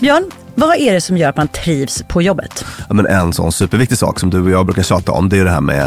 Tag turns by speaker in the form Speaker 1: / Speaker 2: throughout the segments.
Speaker 1: Björn, vad är det som gör att man trivs på jobbet?
Speaker 2: Ja, men en sån superviktig sak som du och jag brukar tjata om, det är det här med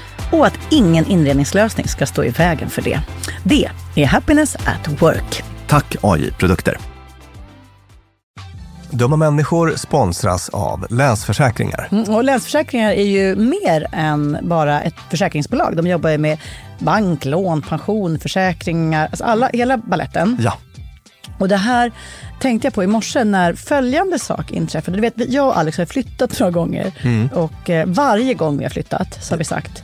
Speaker 1: och att ingen inredningslösning ska stå i vägen för det. Det är Happiness at Work.
Speaker 2: Tack AI Produkter. Dumma människor sponsras av Länsförsäkringar.
Speaker 1: Mm, Och Länsförsäkringar är ju mer än bara ett försäkringsbolag. De jobbar ju med bank, lån, pension, försäkringar, alltså alla, hela balletten.
Speaker 2: Ja,
Speaker 1: Och det här tänkte jag på i morse när följande sak inträffade. Du vet, vi- jag och Alex har flyttat några gånger och eh, varje gång vi har flyttat så har vi sagt,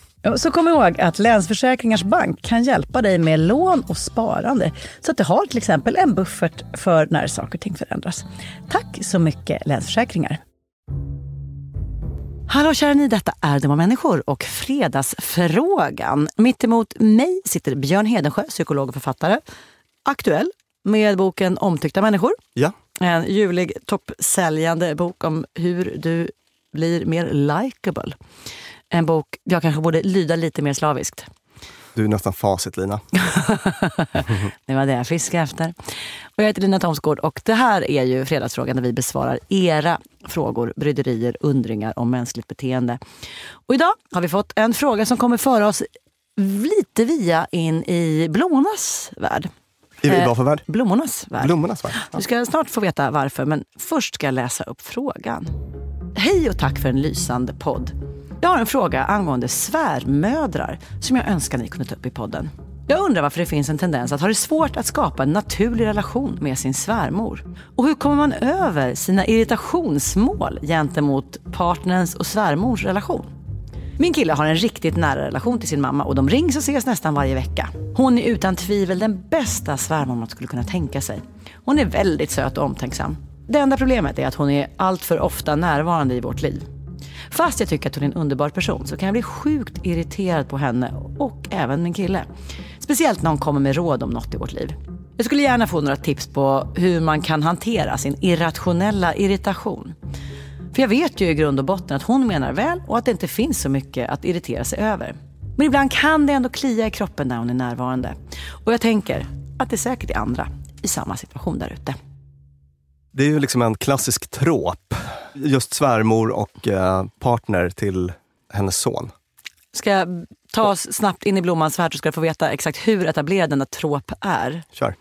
Speaker 1: Ja, Så kom ihåg att Länsförsäkringars Bank kan hjälpa dig med lån och sparande så att du har till exempel en buffert för när saker och ting förändras. Tack så mycket Länsförsäkringar!
Speaker 3: Hallå kära ni, detta är Dumma människor och Fredagsfrågan. Mitt emot mig sitter Björn Hedensjö, psykolog och författare. Aktuell med boken Omtyckta människor.
Speaker 2: Ja.
Speaker 3: En ljuvlig, toppsäljande bok om hur du blir mer likable. En bok jag kanske borde lyda lite mer slaviskt.
Speaker 2: Du är nästan facit, Lina.
Speaker 3: Det var det jag fiskade efter. Och jag heter Lina Thomsgård och det här är ju Fredagsfrågan där vi besvarar era frågor, bryderier, undringar om mänskligt beteende. Och idag har vi fått en fråga som kommer föra oss lite via in i blommornas värld.
Speaker 2: I,
Speaker 3: Eh,
Speaker 2: vad för värld?
Speaker 3: Blommornas värld.
Speaker 2: Blommornas värld.
Speaker 3: Du ska snart få veta varför, men först ska jag läsa upp frågan. Hej och tack för en lysande podd.
Speaker 1: Jag har en fråga angående svärmödrar som jag önskar ni kunde ta upp i podden. Jag undrar varför det finns en tendens att ha det svårt att skapa en naturlig relation med sin svärmor. Och hur kommer man över sina irritationsmål gentemot partners och svärmors relation? Min kille har en riktigt nära relation till sin mamma och de rings och ses nästan varje vecka. Hon är utan tvivel den bästa svärmor man skulle kunna tänka sig. Hon är väldigt söt och omtänksam. Det enda problemet är att hon är alltför ofta närvarande i vårt liv. Fast jag tycker att hon är en underbar person så kan jag bli sjukt irriterad på henne och även min kille. Speciellt när hon kommer med råd om något i vårt liv. Jag skulle gärna få några tips på hur man kan hantera sin irrationella irritation. För jag vet ju i grund och botten att hon menar väl och att det inte finns så mycket att irritera sig över. Men ibland kan det ändå klia i kroppen när hon är närvarande. Och jag tänker att det säkert är andra i samma situation där ute.
Speaker 2: Det är ju liksom en klassisk tråp. Just svärmor och eh, partner till hennes son.
Speaker 1: Ska jag ta oss snabbt in i blommans värld så ska jag få veta exakt hur etablerad denna tråp är.
Speaker 2: Kör.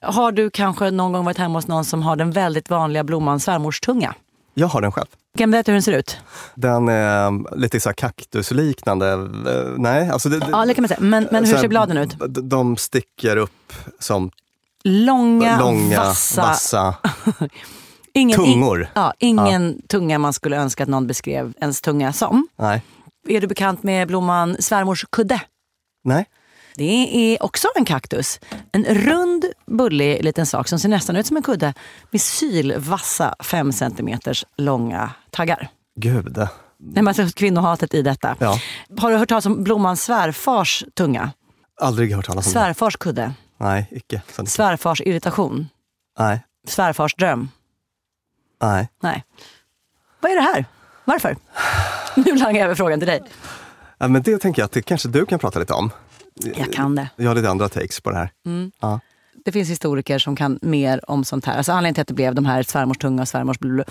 Speaker 1: Har du kanske någon gång varit hemma hos någon som har den väldigt vanliga blommans svärmorstunga?
Speaker 2: Jag har den själv.
Speaker 1: Kan du berätta hur den ser ut?
Speaker 2: Den är lite så här kaktusliknande. Eh, Nej, alltså... Det, Alltså, det-
Speaker 1: Ja, det kan man säga. Men, men
Speaker 2: så
Speaker 1: hur
Speaker 2: här,
Speaker 1: ser bladen ut?
Speaker 2: d- De sticker upp som
Speaker 1: Långa,
Speaker 2: långa,
Speaker 1: vassa,
Speaker 2: vassa
Speaker 1: ingen,
Speaker 2: tungor.
Speaker 1: Ja, ingen tunga man skulle önska att någon beskrev ens tunga som.
Speaker 2: Nej.
Speaker 1: Är du bekant med blomman svärmors kudde?
Speaker 2: Nej.
Speaker 1: Det är också en kaktus. En rund, bullig liten sak som ser nästan ut som en kudde med sylvassa 5 cm långa taggar.
Speaker 2: Gud.
Speaker 1: Nej, men alltså kvinnohatet i detta.
Speaker 2: Ja. Mm.
Speaker 1: Har du hört talas om blommans svärfars tunga?
Speaker 2: Aldrig hört talas om det.
Speaker 1: Svärfars kudde?
Speaker 2: Nej, icke. Sannolikt.
Speaker 1: Svärfars irritation?
Speaker 2: Nej,
Speaker 1: Svärfars dröm?
Speaker 2: nej.
Speaker 1: Nej. Vad är det här? Varför? Nu langar jag över frågan till dig.
Speaker 2: Ja, men det tänker jag att det kanske du kan prata lite om.
Speaker 1: Jag kan det.
Speaker 2: Jag har lite andra takes på det här.
Speaker 1: det finns historiker som kan mer om sånt här. Alltså anledningen till att det blev de här svärmorstunga och svärmors blå,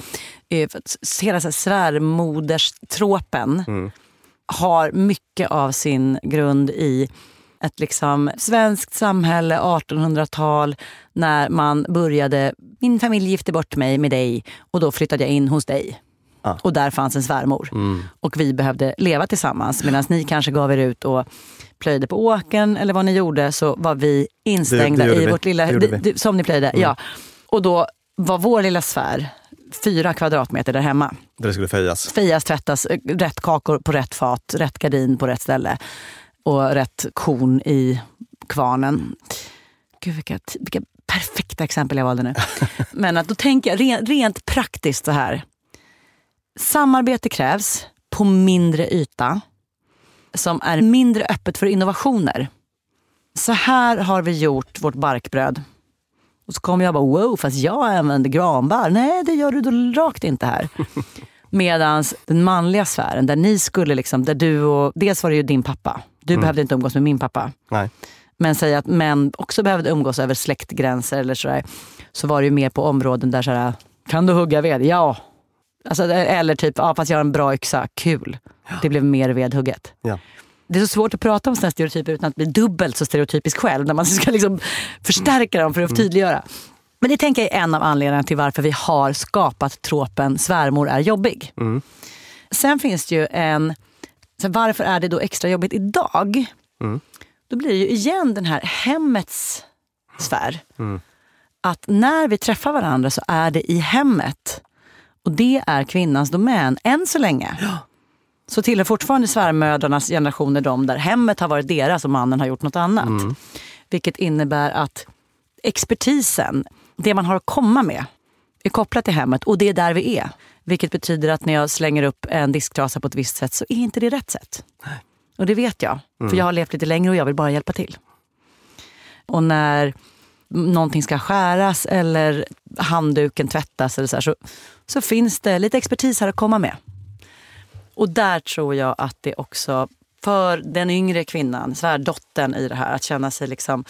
Speaker 1: är för att s- hela så här svärmoderstråpen har mycket av sin grund i ett liksom svenskt samhälle, 1800-tal, när man började, min familj gifte bort mig med dig och då flyttade jag in hos dig.
Speaker 2: Ah.
Speaker 1: Och där fanns en svärmor.
Speaker 2: Mm.
Speaker 1: Och vi behövde leva tillsammans medan ni kanske gav er ut och plöjde på åkern eller vad ni gjorde så var vi instängda
Speaker 2: gjorde
Speaker 1: i
Speaker 2: vi.
Speaker 1: vårt lilla...
Speaker 2: Det gjorde
Speaker 1: di-
Speaker 2: vi. Mm.
Speaker 1: di- som ni plöjde, ja. Och då var vår lilla sfär fyra kvadratmeter där hemma.
Speaker 2: Där det skulle fejas.
Speaker 1: Fejas tvättas, eh, rätt kakor på rätt fat, rätt gardin på rätt ställe och rätt korn i kvarnen. Gud vilka, t- vilka perfekta exempel jag valde nu. Men att då tänker jag rent, rent praktiskt så här. Samarbete krävs på mindre yta som är mindre öppet för innovationer. Så här har vi gjort vårt barkbröd. Och så kommer jag bara wow, fast jag använder granbarr. Nej, det gör du då rakt inte här. Medan den manliga sfären, där ni skulle liksom, där du och, dels var det ju din pappa. Du behövde inte umgås med min pappa.
Speaker 2: Nej.
Speaker 1: Men säg att män också behövde umgås över släktgränser eller sådär. Så var det ju mer på områden där såhär, kan du hugga ved? Ja. Alltså, eller typ, ja fast jag har en bra yxa, kul. Det blev mer vedhugget.
Speaker 2: Ja.
Speaker 1: Det är så svårt att prata om sina stereotyper utan att bli dubbelt så stereotypisk själv. När man ska liksom förstärka dem för att tydliggöra. Men det tänker jag är en av anledningarna till varför vi har skapat tråpen svärmor är jobbig. Sen finns det ju en... Så varför är det då extra jobbigt idag? Då blir det ju igen den här hemmets sfär. Att när vi träffar varandra så är det i hemmet. Och det är kvinnans domän, än så länge så tillhör fortfarande svärmödrarnas generationer de där hemmet har varit deras och mannen har gjort något annat. Vilket innebär att expertisen, det man har att komma med, är kopplat till hemmet och det är där vi är. Vilket betyder att när jag slänger upp en disktrasa på ett visst sätt så är inte det rätt sätt. Och det vet jag, för jag har levt lite längre och jag vill bara hjälpa till. Och när någonting ska skäras eller handduken tvättas eller så, här, så, så finns det lite expertis här att komma med. Och där tror jag att det också, för den yngre kvinnan, svärdottern i det här, att känna sig liksom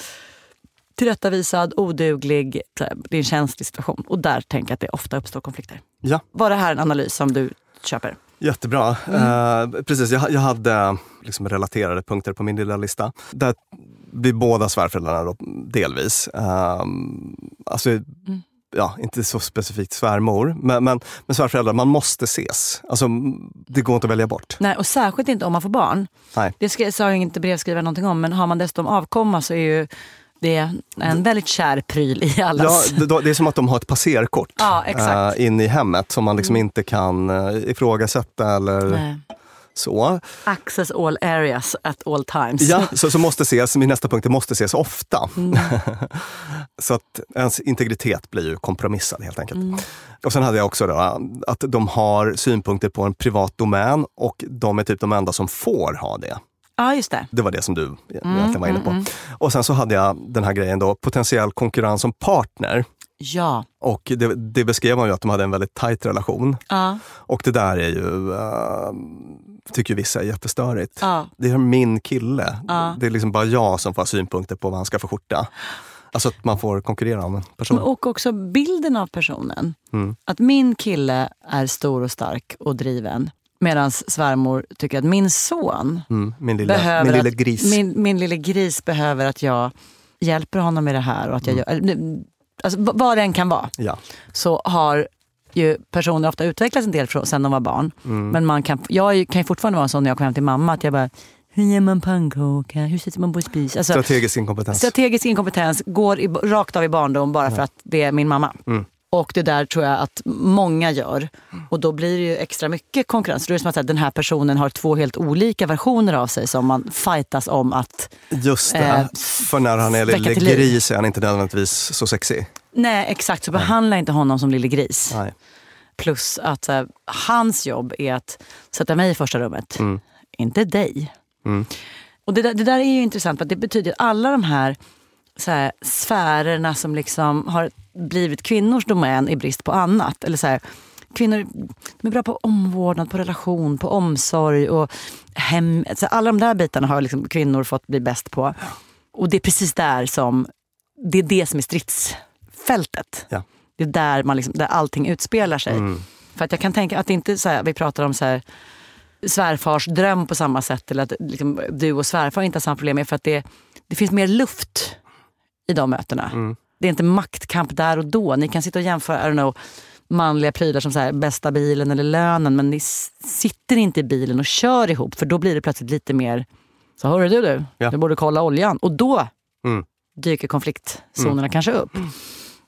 Speaker 1: tillrättavisad, oduglig. så här, Det är en känslig situation. Och där tänker jag att det ofta uppstår konflikter.
Speaker 2: Ja.
Speaker 1: Var det här en analys som du köper?
Speaker 2: Jättebra. Eh, precis, jag, jag hade liksom relaterade punkter på min lilla lista. Där blir båda svärföräldrarna då, delvis. Eh, ehm, alltså, ja, inte så specifikt svärmor, men, men, men svärföräldrar, man måste ses. Alltså, det går inte att välja bort.
Speaker 1: Nej, och särskilt inte om man får barn.
Speaker 2: Nej.
Speaker 1: Det ska, sa ju inte brevskrivaren någonting om, men har man dessutom avkomma så är ju det en väldigt kär pryl i
Speaker 2: Mm. Ja,
Speaker 1: allas...
Speaker 2: det, det är som att de har ett passerkort
Speaker 1: Ja, exakt.
Speaker 2: eh, in i hemmet som man liksom inte kan eh, ifrågasätta eller
Speaker 1: Nej.
Speaker 2: så.
Speaker 1: eh, Access all areas at all times.
Speaker 2: Ja, så, så måste ses, min nästa punkt är måste ses ofta. så att ens integritet blir ju kompromissad helt enkelt. Och sen hade jag också då, att de har synpunkter på en privat domän och de är typ de enda som får ha det.
Speaker 1: Ja, just det.
Speaker 2: Det var det som du egentligen var inne på. Och sen så hade jag den här grejen då, potentiell konkurrens som partner.
Speaker 1: Ja.
Speaker 2: Och det, det beskrev man ju att de hade en väldigt tajt relation.
Speaker 1: Ja.
Speaker 2: Och det där är ju, eh, tycker ju vissa är jättestörigt.
Speaker 1: Ja.
Speaker 2: Det är min kille.
Speaker 1: Ja.
Speaker 2: Det är liksom bara jag som får ha synpunkter på vad han ska för skjorta. Alltså att man får konkurrera om en person.
Speaker 1: Men oh, Och också bilden av personen.
Speaker 2: Mm.
Speaker 1: Att min kille är stor och stark och driven. Medan svärmor tycker att min son
Speaker 2: Mm, min lilla,
Speaker 1: behöver
Speaker 2: min lilla
Speaker 1: att,
Speaker 2: gris.
Speaker 1: Min, min lille gris behöver att jag hjälper honom med det här. Och att jag
Speaker 2: Mm.
Speaker 1: gör, alltså, v- vad det än kan vara
Speaker 2: Ja.
Speaker 1: så har ju personer ofta utvecklats en del från, sen de var barn.
Speaker 2: Mm.
Speaker 1: Men man kan, jag är ju- kan ju fortfarande vara en sån när jag kommer hem till mamma. Att jag bara, hur gör man pannkaka? Hur sätter man på spis? Alltså,
Speaker 2: Strategisk inkompetens.
Speaker 1: strategisk inkompetens går i, rakt av i barndom bara för att det är min mamma. Och det där tror jag att många gör. Och då blir det ju extra mycket konkurrens. Då är det som att så här, den här personen har två helt olika versioner av sig som man fightas om att...
Speaker 2: Just det.
Speaker 1: eh,
Speaker 2: för när han är
Speaker 1: väcka
Speaker 2: lille
Speaker 1: till liv.
Speaker 2: gris är han inte nödvändigtvis så sexig.
Speaker 1: Nej, exakt. Så behandla inte honom som lille gris.
Speaker 2: Nej.
Speaker 1: Plus att så här, hans jobb är att sätta mig i första rummet, inte dig. Och det där, det där är ju intressant för att det betyder att alla de här, så här sfärerna som liksom har blivit kvinnors domän i brist på annat. Eller så här, kvinnor de är bra på omvårdnad, på relation, på omsorg och hem. Så alla de där bitarna har liksom kvinnor fått bli bäst på. Och det är precis där som, det är det som är stridsfältet.
Speaker 2: Ja.
Speaker 1: Det är där, man liksom, där allting utspelar sig.
Speaker 2: Mm.
Speaker 1: För att jag kan tänka att det inte är så här, vi pratar om så här, svärfars dröm på samma sätt. Eller att liksom, du och svärfar inte har samma problem. är För att det, det finns mer luft i de mötena.
Speaker 2: Mm.
Speaker 1: Det är inte maktkamp där och då. Ni kan sitta och jämföra I don't know, manliga prylar som så här, bästa bilen eller lönen. Men ni s- sitter inte i bilen och kör ihop. För då blir det plötsligt lite mer, så hörru du du,
Speaker 2: Ja.
Speaker 1: du borde kolla oljan. Och då
Speaker 2: Mm.
Speaker 1: dyker konfliktzonerna kanske upp.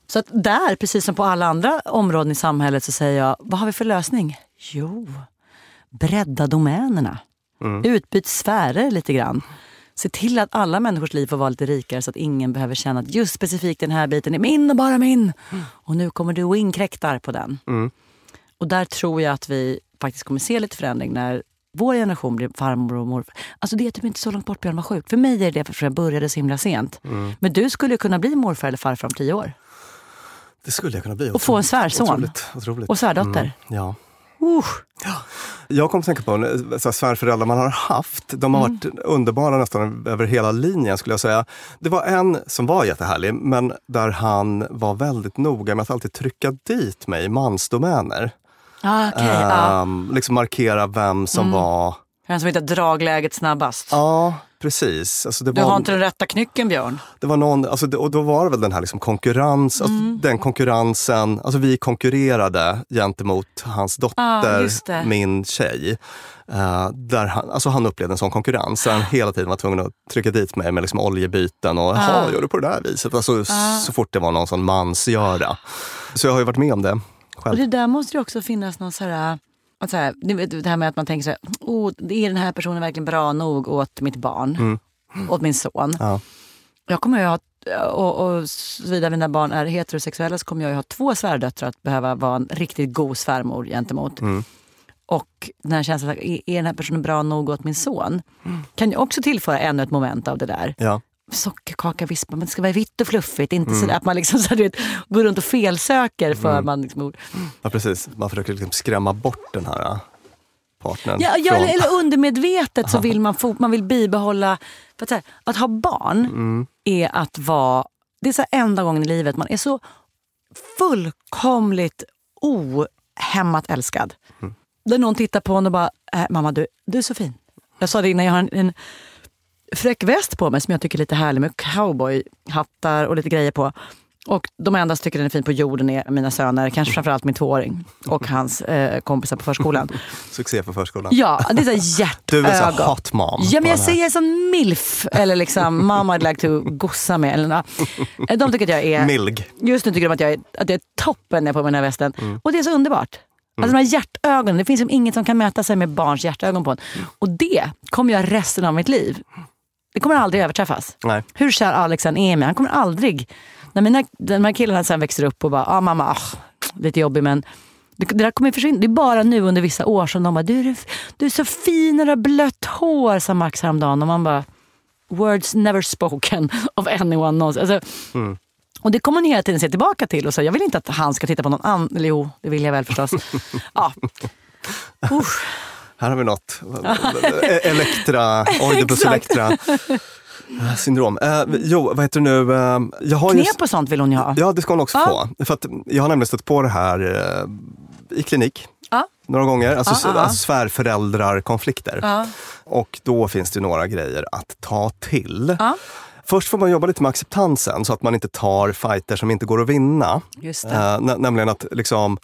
Speaker 1: Så att där, precis som på alla andra områden i samhället, så säger jag, vad har vi för lösning? Jo, bredda domänerna. Utbyt sfärer lite grann. Se till att alla människors liv får vara lite rikare så att ingen behöver känna att just specifikt den här biten är min och bara min. Och nu kommer du och inkräktar på den. Och där tror jag att vi faktiskt kommer se lite förändring när vår generation blir farmor och morfar. Alltså det är typ inte så långt bort Björn var sjuk. För mig är det för att jag började så himla sent. Men du skulle ju kunna bli morfar eller farfar om tio år.
Speaker 2: Det skulle jag kunna bli.
Speaker 1: Och få en svärson.
Speaker 2: Mm, Otroligt, otroligt.
Speaker 1: Och svärdotter.
Speaker 2: Mm, ja.
Speaker 1: Usch.
Speaker 2: Jag kom att tänka på en- så här, svärföräldrar man har haft. De har
Speaker 1: Mm.
Speaker 2: varit underbara nästan över hela linjen skulle jag säga. Det var en som var jättehärlig, men där han var väldigt noga med att alltid trycka dit mig i mansdomäner.
Speaker 1: Ah, okej. ja. Mm.
Speaker 2: Ehm, liksom markera vem som var...
Speaker 1: Den som hittar dragläget snabbast.
Speaker 2: Ja, precis. Alltså det,
Speaker 1: Du har
Speaker 2: var,
Speaker 1: inte den rätta knycken Björn.
Speaker 2: det var någon, alltså det, och då var det väl den här liksom konkurrens,
Speaker 1: Mm.
Speaker 2: alltså den konkurrensen, alltså vi konkurrerade gentemot hans
Speaker 1: Ah,
Speaker 2: dotter,
Speaker 1: just det.
Speaker 2: min tjej. Eh, där han, alltså han upplevde en sån konkurrens, så han hela tiden var tvungen att trycka dit mig med liksom oljebyten och jaha, gör du på det där viset? Alltså, Så fort det var någon sån mansgöra. Så jag har ju varit med om det
Speaker 1: Och
Speaker 2: själv.
Speaker 1: det där måste ju också finnas någon så här... Att så här ni vet, det här med att man tänker så här, oh, är den här personen verkligen bra nog åt mitt barn? Åt min son?
Speaker 2: Ja.
Speaker 1: Jag kommer ju ha, och, och såvida mina barn är heterosexuella så kommer jag ju ha två svärdöttrar att behöva vara en riktigt god svärmor gentemot. Och den här känslan, att, är är den här personen bra nog åt min son? Kan ju också tillföra ännu ett moment av det där.
Speaker 2: Ja.
Speaker 1: sockerkaka vispa, men det ska vara vitt och fluffigt. Inte så att man liksom, så här, du vet, går runt och felsöker för man liksom,
Speaker 2: ja, precis. Man försöker liksom skrämma bort den här eh, partnern.
Speaker 1: Ja, ja
Speaker 2: från-
Speaker 1: eller, eller undermedvetet så vill man, få, man vill bibehålla... För att, så här, att ha barn är att vara... Det är så här, enda gången i livet man är så fullkomligt ohämmat älskad. Där någon tittar på en och bara, äh, mamma du, du är så fin. Jag sa det innan, jag har en, en fräck väst på mig som jag tycker är lite härlig med cowboyhattar och lite grejer på. Och de enda som tycker den är fin på jorden är mina söner, kanske framförallt min tvååring och hans eh, kompisar på förskolan.
Speaker 2: Succé för förskolan.
Speaker 1: Ja, det är så här
Speaker 2: Du är väl så här
Speaker 1: hjärtögon.
Speaker 2: hot mom?
Speaker 1: Ja,
Speaker 2: på
Speaker 1: men jag
Speaker 2: den här.
Speaker 1: säger som milf, eller liksom mamma I'd like to gossa med. Eller, nå. de tycker att jag är...
Speaker 2: Milg.
Speaker 1: Just nu tycker de att jag är, att jag är toppen när jag är på mig den här västen.
Speaker 2: Mm.
Speaker 1: Och det är så underbart. Alltså de här hjärtögonen, det finns liksom inget som kan mäta sig med barns hjärtögon på en.
Speaker 2: Mm.
Speaker 1: Och det kommer jag resten av mitt liv. Det kommer aldrig överträffas.
Speaker 2: Nej.
Speaker 1: Hur kär Alex än är i mig, han kommer aldrig... När mina, de här killarna sen växer upp och bara, ah, mamma, ah, lite jobbig men det, det där kommer försvinna. Det är bara nu under vissa år som de bara, du, är den f- du är så fin och du har blött hår, sa Max häromdagen. Och man bara, words never spoken of anyone. någonsin." Alltså, och det kommer hon hela tiden se tillbaka till. Och säga, jag vill inte att han ska titta på någon annan. Eller jo, det vill jag väl förstås. ja. Usch.
Speaker 2: Här har vi något. E- Elektra, Oidipus
Speaker 1: Exakt.
Speaker 2: Elektra. eh, Syndrom. Eh, jo, vad heter det nu? Eh, jag har ju-
Speaker 1: Knep och sånt vill hon ju ha.
Speaker 2: Ja, det ska hon också
Speaker 1: Ja.
Speaker 2: få. För att jag har nämligen stött på det här eh, i klinik
Speaker 1: Ja.
Speaker 2: några gånger. Alltså,
Speaker 1: Ja, ja, ja.
Speaker 2: alltså svärföräldrarkonflikter.
Speaker 1: Ja.
Speaker 2: Och då finns det några grejer att ta till.
Speaker 1: Ja.
Speaker 2: Först får man jobba lite med acceptansen så att man inte tar fighter som inte går att vinna.
Speaker 1: Just det.
Speaker 2: Eh, nä- nämligen att, liksom,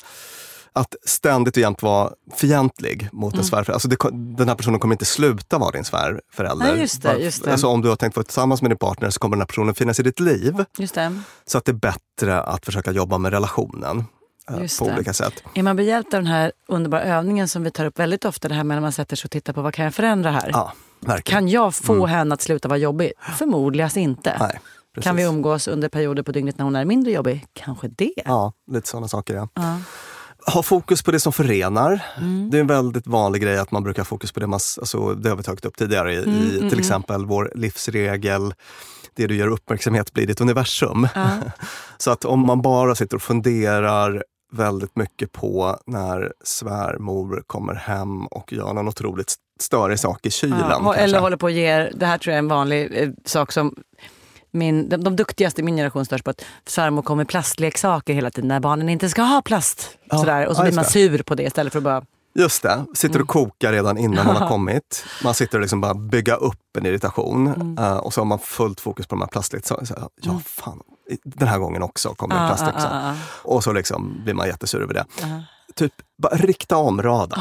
Speaker 2: att ständigt och jämt vara fientlig mot
Speaker 1: Mm.
Speaker 2: en svärförälder. Alltså det, ko- den här personen kommer inte sluta vara din svärförälder.
Speaker 1: Nej, just det,
Speaker 2: Bara-
Speaker 1: just det.
Speaker 2: Alltså, om du har tänkt vara tillsammans med din partner så kommer den här personen finnas i ditt liv.
Speaker 1: Just det.
Speaker 2: Så att det är bättre att försöka jobba med relationen eh,
Speaker 1: Just
Speaker 2: på
Speaker 1: det.
Speaker 2: olika sätt.
Speaker 1: Är man behjälpt av den här underbara övningen som vi tar upp väldigt ofta, det här med när man sätter sig och tittar på vad kan jag förändra här?
Speaker 2: Ja, verkligen.
Speaker 1: Kan jag få henne att sluta vara jobbig? Förmodligen inte.
Speaker 2: Nej, precis.
Speaker 1: kan vi umgås under perioder på dygnet när hon är mindre jobbig? Kanske det.
Speaker 2: Ja, lite sådana saker. Ja. Ha fokus på det som förenar.
Speaker 1: Mm.
Speaker 2: Det är en väldigt vanlig grej att man brukar ha fokus på det man... s- Alltså, det har vi tagit upp tidigare i,
Speaker 1: Mm,
Speaker 2: i till exempel vår livsregel. Det du gör uppmärksamhet blir ditt universum. Så att om man bara sitter och funderar väldigt mycket på när svärmor kommer hem och gör någon otroligt st- större sak i kylen.
Speaker 1: Ja, hå-
Speaker 2: kanske.
Speaker 1: eller håller på och ger, det här tror jag är en vanlig eh, sak som min, de, de duktigaste i min generation störs på att svärmor kommer med plastleksaker hela tiden när barnen inte ska ha plast.
Speaker 2: Ja,
Speaker 1: Sådär. Och så
Speaker 2: ja,
Speaker 1: blir man
Speaker 2: just
Speaker 1: sur på det istället för att bara...
Speaker 2: Just det, sitter och
Speaker 1: Mm.
Speaker 2: kokar redan innan man har kommit. Man sitter och liksom bara bygga upp en irritation
Speaker 1: Mm.
Speaker 2: Eh, och så har man fullt fokus på de här plastleksakerna. Så här, Ja, fan, i- den här gången också kommer en
Speaker 1: Ah, ah,
Speaker 2: plastleksak.
Speaker 1: ah, ah.
Speaker 2: Och så liksom blir man jättesur över det. Typ, bara rikta om radarn.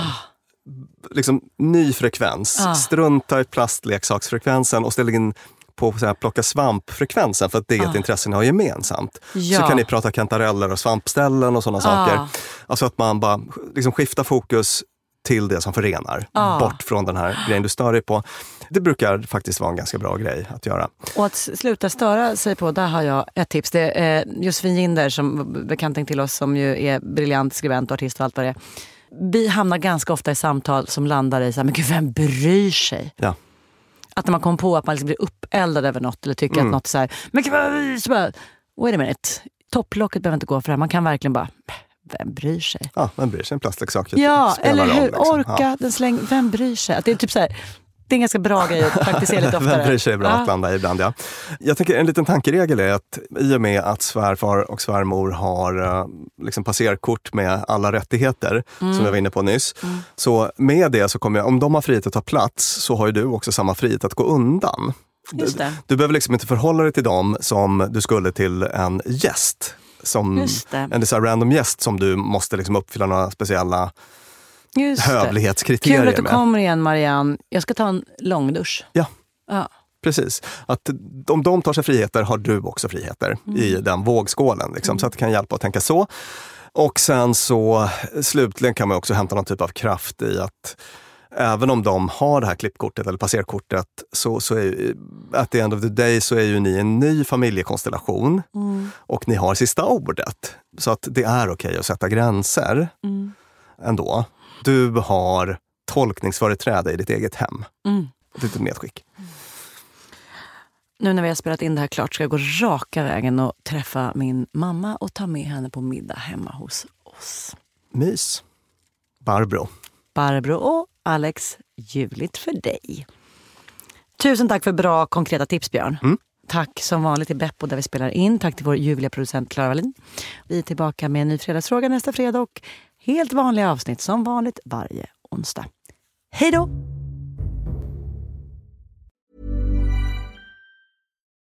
Speaker 2: Liksom, ny frekvens.
Speaker 1: Ah.
Speaker 2: Strunta i plastleksaksfrekvensen och ställ in på så här, plocka svamp-frekvensen för att det är ett intresse ni har gemensamt.
Speaker 1: Ah. Ja.
Speaker 2: Så kan ni prata kantareller och svampställen och sådana saker.
Speaker 1: Ah.
Speaker 2: Alltså att man bara liksom skiftar fokus till det som förenar.
Speaker 1: Ah.
Speaker 2: Bort från den här grejen du stör dig på. Det brukar faktiskt vara en ganska bra grej att göra.
Speaker 1: Och att sluta störa sig på, där har jag ett tips. Det är eh, Josefin Ginder, som var bekanting till oss, som ju är briljant skribent och artist och allt vad det är. Vi hamnar ganska ofta i samtal som landar i så här, men gud vem bryr sig?
Speaker 2: Ja.
Speaker 1: Att när man kom på att man liksom blir uppeldad över något eller
Speaker 2: Mm.
Speaker 1: tycker att något så här, men gud, vad- så bara, wait a minute, topplocket behöver inte gå för det här. Man kan verkligen bara, vem bryr sig?
Speaker 2: Ja, man bryr sig en plastleksak
Speaker 1: Ja,
Speaker 2: spelar
Speaker 1: eller
Speaker 2: roll,
Speaker 1: hur?
Speaker 2: liksom.
Speaker 1: Orka, den släng, vem bryr sig? Att det är typ så här, det är en ganska bra grej att praktisera lite oftare.
Speaker 2: Vem bryr sig är bra att
Speaker 1: Ja.
Speaker 2: blanda i ibland. Ja. Jag tänker en liten tankeregel är att i och med att svärfar och svärmor har eh, liksom passerkort med alla rättigheter,
Speaker 1: Mm.
Speaker 2: som jag var inne på nyss. Så med det så kommer jag, om de har frihet att ta plats så har ju du också samma frihet att gå undan.
Speaker 1: Just det.
Speaker 2: Du behöver liksom inte förhålla dig till dem som du skulle till en gäst. Som
Speaker 1: Just det.
Speaker 2: Mm. en så här random gäst som du måste liksom uppfylla några speciella
Speaker 1: Just det.
Speaker 2: hövlighetskriterier
Speaker 1: Kul att du
Speaker 2: med.
Speaker 1: kommer igen Marianne. Jag ska ta en långdusch.
Speaker 2: Ja,
Speaker 1: Ja.
Speaker 2: Precis. Att om de tar sig friheter har du också friheter i den vågskålen. Liksom, Så att det kan hjälpa att tänka så. Och sen så slutligen kan man också hämta någon typ av kraft i att även om de har det här klippkortet eller passerkortet så, så är ju, at the end of the day så är ju ni en ny familjekonstellation och ni har sista ordet. Så att det är okej att sätta gränser ändå. Du har tolkningsföreträde i ditt eget hem.
Speaker 1: Mm.
Speaker 2: Ett litet medskick.
Speaker 1: Nu när vi har spelat in det här klart ska jag gå raka vägen och träffa min mamma och ta med henne på middag hemma hos oss.
Speaker 2: Mys. Barbro.
Speaker 1: Barbro och Alex, ljuvligt för dig. Tusen tack för bra konkreta tips Björn. Tack som vanligt till Beppo där vi spelar in. Tack till vår ljuvliga producent Klara Wallin. Vi är tillbaka med en ny fredagsfråga nästa fredag och helt vanliga avsnitt som vanligt varje onsdag. Hej då!